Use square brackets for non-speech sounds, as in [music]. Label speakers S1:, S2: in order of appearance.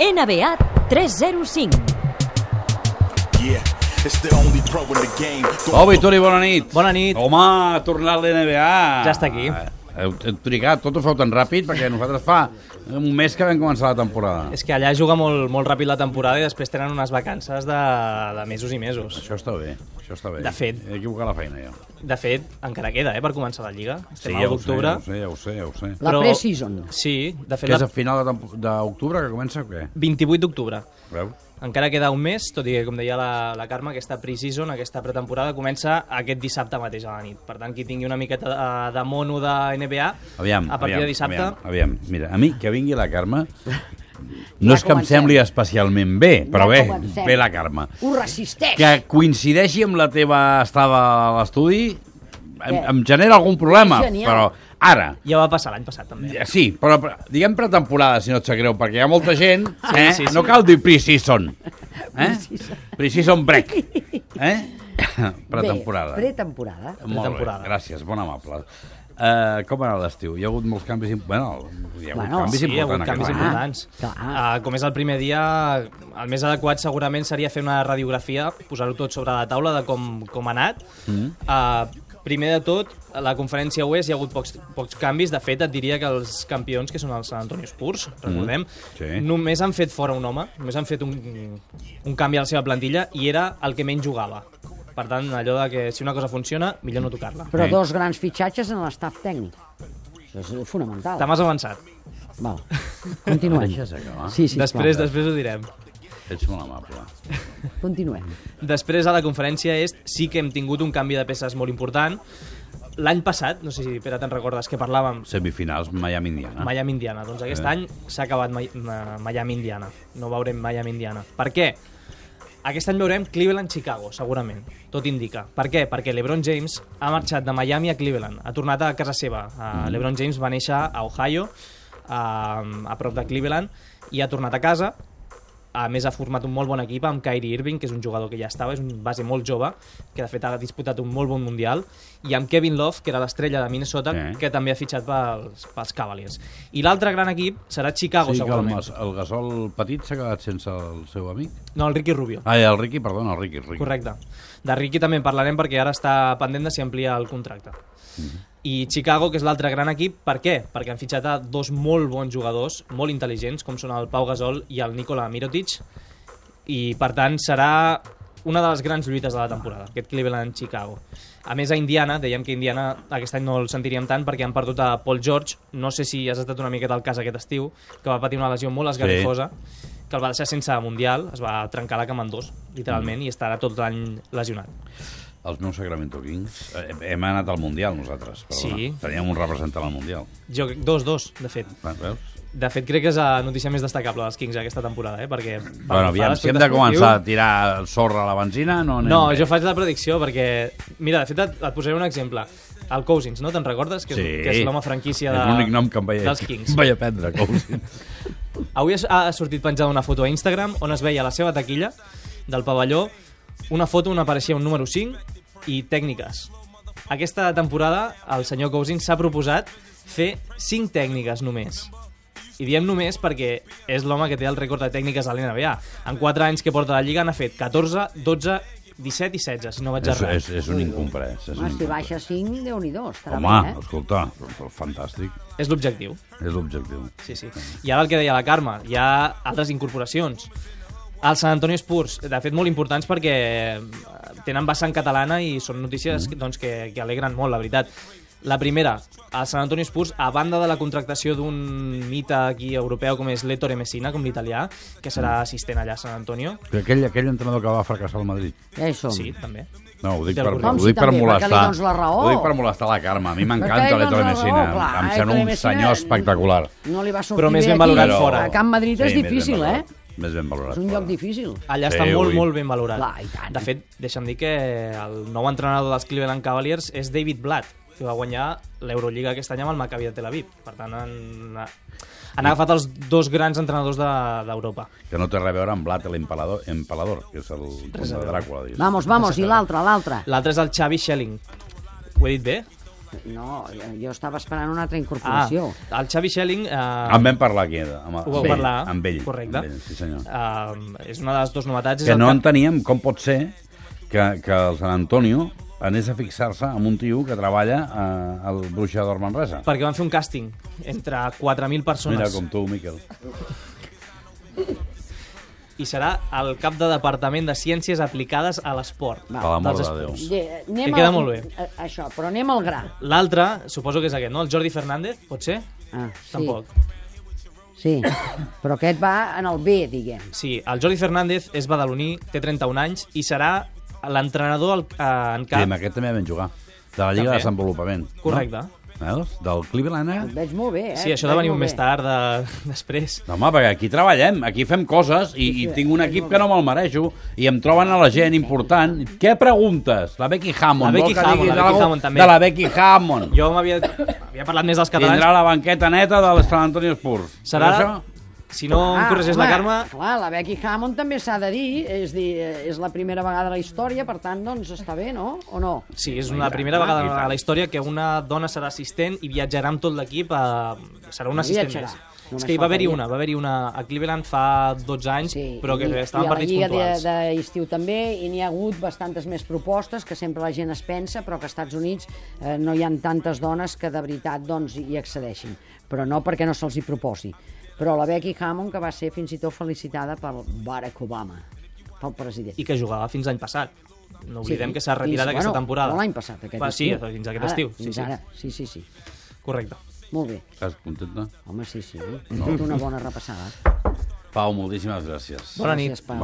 S1: NBA 305.
S2: Yeah, it's the only pro in the game.
S3: Obi, Turi, bona nit.
S4: Bona nit.
S3: Home, ha tornat l'NBA.
S4: Ja està aquí.
S3: Heu, heu trigat, tot ho feu tan ràpid, perquè nosaltres fa un mes que vam començar la temporada.
S4: És que allà juga molt, molt ràpid la temporada i després tenen unes vacances de, de mesos i mesos.
S3: Això està bé, això està bé.
S4: De fet.
S3: He equivocat la feina, jo.
S4: De fet, encara queda, eh, per començar la Lliga. Estem a
S3: ja ho sé,
S4: l'octubre.
S3: ja ho sé, ja ho sé, ja ho sé.
S5: La pre-season.
S4: Sí, de fet,
S3: Que és
S4: la...
S3: a final de tempo- d'octubre que comença o què?
S4: 28 d'octubre.
S3: Veus?
S4: Encara queda un mes, tot i que, com deia la, la Carme, aquesta pre-season, aquesta pretemporada, comença aquest dissabte mateix a la nit. Per tant, qui tingui una miqueta de, de mono de NBA,
S3: Aviam,
S4: a partir
S3: aviam,
S4: de dissabte...
S3: Aviam, aviam, mira, a mi que vingui la Carme... No
S5: Ja
S3: és que em
S5: comencem.
S3: sembli especialment bé, però
S5: Ja
S3: bé,
S5: comencem.
S3: bé la Carme.
S5: Ho resisteix.
S3: que coincideixi amb la teva estada a l'estudi em,
S5: Bé.
S3: em genera algun problema,
S5: Genial.
S3: però ara...
S4: Ja va passar l'any passat, també.
S3: ja, Sí, però, però diguem pretemporada, si no et sap greu, perquè hi ha molta gent, eh?
S4: sí, sí.
S3: no cal dir pre-season. Eh? Pre-season break. Eh? pretemporada.
S5: Bé, pretemporada.
S3: Molt bé,
S4: Pretemporada.
S3: gràcies, bon amable. Uh, com ha anat l'estiu? Hi ha hagut molts canvis... im- Bueno, hi ha hagut
S5: Bueno,
S3: canvis
S4: Sí, hi ha hagut
S3: importants.
S4: canvis
S3: aquest eh? any.
S4: importants.
S5: Clar.
S4: Uh, com és el primer dia, el més adequat segurament seria fer una radiografia, posar-ho tot sobre la taula de com, com ha anat. Mm. Uh, primer de tot, a la conferència oest hi ha hagut pocs, pocs canvis. De fet, et diria que els campions, que són els San Antonio Spurs, recordem,
S3: Mm. Sí.
S4: només han fet fora un home, només han fet un, un canvi a la seva plantilla i era el que menys jugava. Per tant, allò de que si una cosa funciona, millor no tocar-la.
S5: Però
S3: Sí.
S5: dos grans fitxatges en l'estaf tècnic. Això és fonamental.
S4: T'ha més avançat.
S5: Val. Continuem.
S3: Deixes acabar?
S5: Sí, sí,
S4: després,
S5: esclar.
S4: després ho direm.
S3: Ets molt amable.
S5: Continuem.
S4: Després, a la conferència est, sí que hem tingut un canvi de peces molt important. L'any passat, no sé si Pere te'n recordes que parlàvem,
S3: Semifinals, Miami-Indiana.
S4: Miami-Indiana. Doncs aquest
S3: Ah. Eh.
S4: any s'ha acabat Mi- Ma- Miami-Indiana. No veurem Miami-Indiana. Per què? Aquest any veurem Cleveland-Chicago, segurament. Tot indica. Per què? Perquè LeBron James ha marxat de Miami a Cleveland. Ha tornat a casa seva. Uh, LeBron James va néixer a Ohio, a, a prop de Cleveland, i ha tornat a casa. A més, ha format un molt bon equip amb Kyrie Irving, que és un jugador que ja estava, és un base molt jove, que de fet ha disputat un molt bon Mundial, i amb Kevin Love, que era l'estrella de Minnesota,
S3: Eh.
S4: que també ha fitxat pels, pels Cavaliers. I l'altre gran equip serà Chicago,
S3: Sí, que el,
S4: segurament.
S3: Mas- el Gasol petit s'ha quedat sense el seu amic.
S4: No, el Ricky Rubio.
S3: Ah, i el Ricky, perdona, el Ricky. El Ricky.
S4: Correcte. De Ricky també en parlarem perquè ara està pendent de si amplia el contracte. I Chicago, que és l'altre gran equip, per què? Perquè han fitxat a dos molt bons jugadors, molt intel·ligents, com són el Pau Gasol i el Nikola Mirotic, i per tant serà una de les grans lluites de la temporada, aquest Cleveland-Chicago. A més, a Indiana, dèiem que Indiana aquest any no el sentiríem tant perquè han perdut a Paul George, no sé si has estat una miqueta al cas aquest estiu, que va patir una lesió molt esgarrifosa, sí. que el va deixar sense Mundial, es va trencar la cama en dos, literalment, mm. i estarà tot l'any lesionat.
S3: Els meus Sacramento Kings. eh, Hem anat al Mundial, nosaltres. Perdona.
S4: Sí.
S3: Teníem un representant al Mundial.
S4: Jo crec 2-2, de fet.
S3: Va, Veus?
S4: De fet, crec que és la notícia més destacable dels Kings aquesta temporada, eh? Perquè...
S3: Bueno, aviam, si hem de començar a tirar el sorra a la benzina, no eh. anem
S4: No,
S3: bé.
S4: jo faig la predicció perquè... Mira, de fet, et, et posaré un exemple. El Cousins, no? Te'n recordes? Que és,
S3: Sí.
S4: que és l'home franquícia de,
S3: És l'únic nom que em vaig,
S4: dels Kings.
S3: Em vaig aprendre, Cousins.
S4: Avui es- ha sortit penjada una foto a Instagram on es veia la seva taquilla del pavelló, una foto on apareixia un número 5 i tècniques. Aquesta temporada el senyor Cousins s'ha proposat fer 5 tècniques només. I diem només perquè és l'home que té el rècord de tècniques a l'NBA. En 4 anys que porta la Lliga n'ha fet 14, 12, 17 i 16, si no vaig
S3: és,
S4: errat.
S3: és, és un incomprès. És
S5: Home,
S3: un
S5: si
S3: incomprès.
S5: baixa 5, Déu-n'hi-do. Estarà
S3: Home,
S5: bé, eh?
S3: escolta, fantàstic.
S4: És l'objectiu.
S3: És l'objectiu.
S4: Sí, sí. I ara el que deia la Carme, hi ha altres incorporacions. Els Sant Antonio Spurs, de fet, molt importants perquè eh, tenen vessant catalana i són notícies doncs, que, que alegren molt, la veritat. La primera, el Sant Antonio Spurs, a banda de la contractació d'un mite aquí europeu com és l'Ettore Messina, com l'italià, que serà assistent allà a Sant Antonio.
S3: Que Aquell, aquell entrenador que va fracassar al Madrid.
S5: eh? Ja hi som.
S4: Sí, també.
S3: No, ho dic
S4: Té
S3: per,
S4: algun
S3: ho
S5: Com
S3: dic per
S4: raó.
S5: si també,
S3: molestar.
S5: perquè li dones la raó.
S3: Ho dic per molestar la Carme. A mi m'encanta
S5: Perquè li
S3: l'Hector
S5: dones la
S3: Messina.
S5: raó, clar.
S3: Em
S5: Héctor
S3: sembla un
S5: Messina-
S3: senyor espectacular.
S5: No li va sortir
S4: Però més
S5: bé
S4: ben
S5: aquí.
S4: valorat fora.
S5: A Camp Madrid és
S3: més ben
S5: difícil, eh?
S3: valorat. Més ben valorat.
S5: És un lloc
S3: fora.
S5: difícil.
S4: Allà
S3: Sí,
S4: està molt,
S3: ui.
S4: molt ben valorat.
S5: Clar, i tant.
S4: De fet, deixa'm dir que el nou entrenador dels Cleveland Cavaliers és David Blatt, que va guanyar l'Eurolliga aquest any amb el Maccabi de Tel Aviv. Per tant, han, han agafat els dos grans entrenadors de- d'Europa. De,
S3: Que no té res a veure amb Blat l'empalador, empalador, que és el com de Dràcula. Digues.
S5: Vamos, vamos, i l'altre, l'altre.
S4: L'altre és el Xavi Schelling. Ho he dit bé?
S5: No, jo estava esperant una altra incorporació.
S4: Ah, el Xavi Schelling... Eh,
S3: En vam parlar aquí, amb,
S4: Ho vau
S3: amb ell,
S4: parlar,
S3: amb ell.
S4: correcte.
S3: Amb ell, sí, senyor.
S4: eh, és una de les dues novetats. és
S3: que
S4: el
S3: no enteníem com pot ser que, que el Sant Antonio anés a fixar-se amb un tio que treballa a, al Bruixador Manresa.
S4: Perquè van fer un càsting entre 4.000
S3: Mira
S4: persones
S3: com tu, Miquel.
S4: i serà el cap de Departament de Ciències Aplicades a l'Esport.
S5: Va,
S3: Per l'amor
S4: dels
S3: de Déu.
S4: esports.
S5: De, anem
S4: Que queda
S5: al-
S4: molt bé.
S5: a- Això, però anem al gra.
S4: L'altre, suposo que és aquest, no? El Jordi Fernández, pot ser?
S5: Ah, sí,
S4: Tampoc.
S5: Sí, però aquest va en el B, diguem.
S4: Sí, el Jordi Fernández és badaloní, té 31 anys i serà l'entrenador al- eh, en
S3: Sí,
S4: cap.
S3: amb aquest també vam jugar. De la Lliga
S4: També.
S3: de Desenvolupament.
S4: Correcte.
S3: No? Veus? Del Cleveland,
S5: Et
S3: eh?
S5: veig molt bé, eh?
S4: Sí, això
S5: Et
S4: de
S5: veig
S4: venir un
S5: molt
S4: més
S5: bé.
S4: tard, de... [laughs] després.
S3: No, home, perquè aquí treballem, aquí fem coses i, i tinc un equip que no me'l mereixo i em troben a la gent important. Què preguntes? La Becky Hammond.
S4: La Becky
S3: vols que
S4: Hammond,
S3: diguis
S4: la Becky
S3: alguna
S4: Hammond, també.
S3: De la Becky Hammond.
S4: Jo m'havia havia parlat més dels catalans.
S3: Tindrà la banqueta neta de Sant Antonio Spurs. Però
S4: Serà,
S3: això-
S4: si no em corregeix la
S5: Ah, home,
S4: Carme,
S5: Clar, la Becky Hammond també s'ha de dir, és, dir, eh, és la primera vegada a la història, per tant, doncs està bé, no? O no? Ah,
S4: sí, és una primera vegada
S3: i tant.
S4: a la història que una dona serà assistent i viatjarà amb tot l'equip. A... Serà una
S5: No
S4: assistent
S5: viatjarà,
S4: més.
S5: només
S4: És que hi va haver-hi
S5: faltaria.
S4: una, va haver-hi una a Cleveland fa 12 anys, però que
S5: i-
S4: estaven partits
S5: I a la Lliga
S4: puntuals.
S5: de- d'estiu també, i n'hi ha hagut bastantes més propostes que sempre la gent es pensa, però que als Estats Units eh, no hi han tantes dones que de veritat doncs, hi accedeixin, però no perquè no se'ls hi proposi. Però la Becky Hammond, que va ser fins i tot felicitada per Barack Obama, pel president.
S4: I que jugava fins l'any passat. No oblidem
S5: Sí,
S4: que s'ha retirat
S5: fins-
S4: aquesta
S5: bueno,
S4: temporada.
S5: no L'any passat, aquest
S4: Va, sí,
S5: estiu.
S4: fins aquest
S5: Ara,
S4: estiu. Sí,
S5: Fins
S4: sí.
S5: ara, sí, sí, sí.
S4: Correcte.
S5: Molt bé.
S3: Estàs contenta?
S5: Home, sí, sí. No. eh? Una bona repassada.
S3: Pau, moltíssimes gràcies.
S4: Bona nit.
S5: Gràcies, Pau.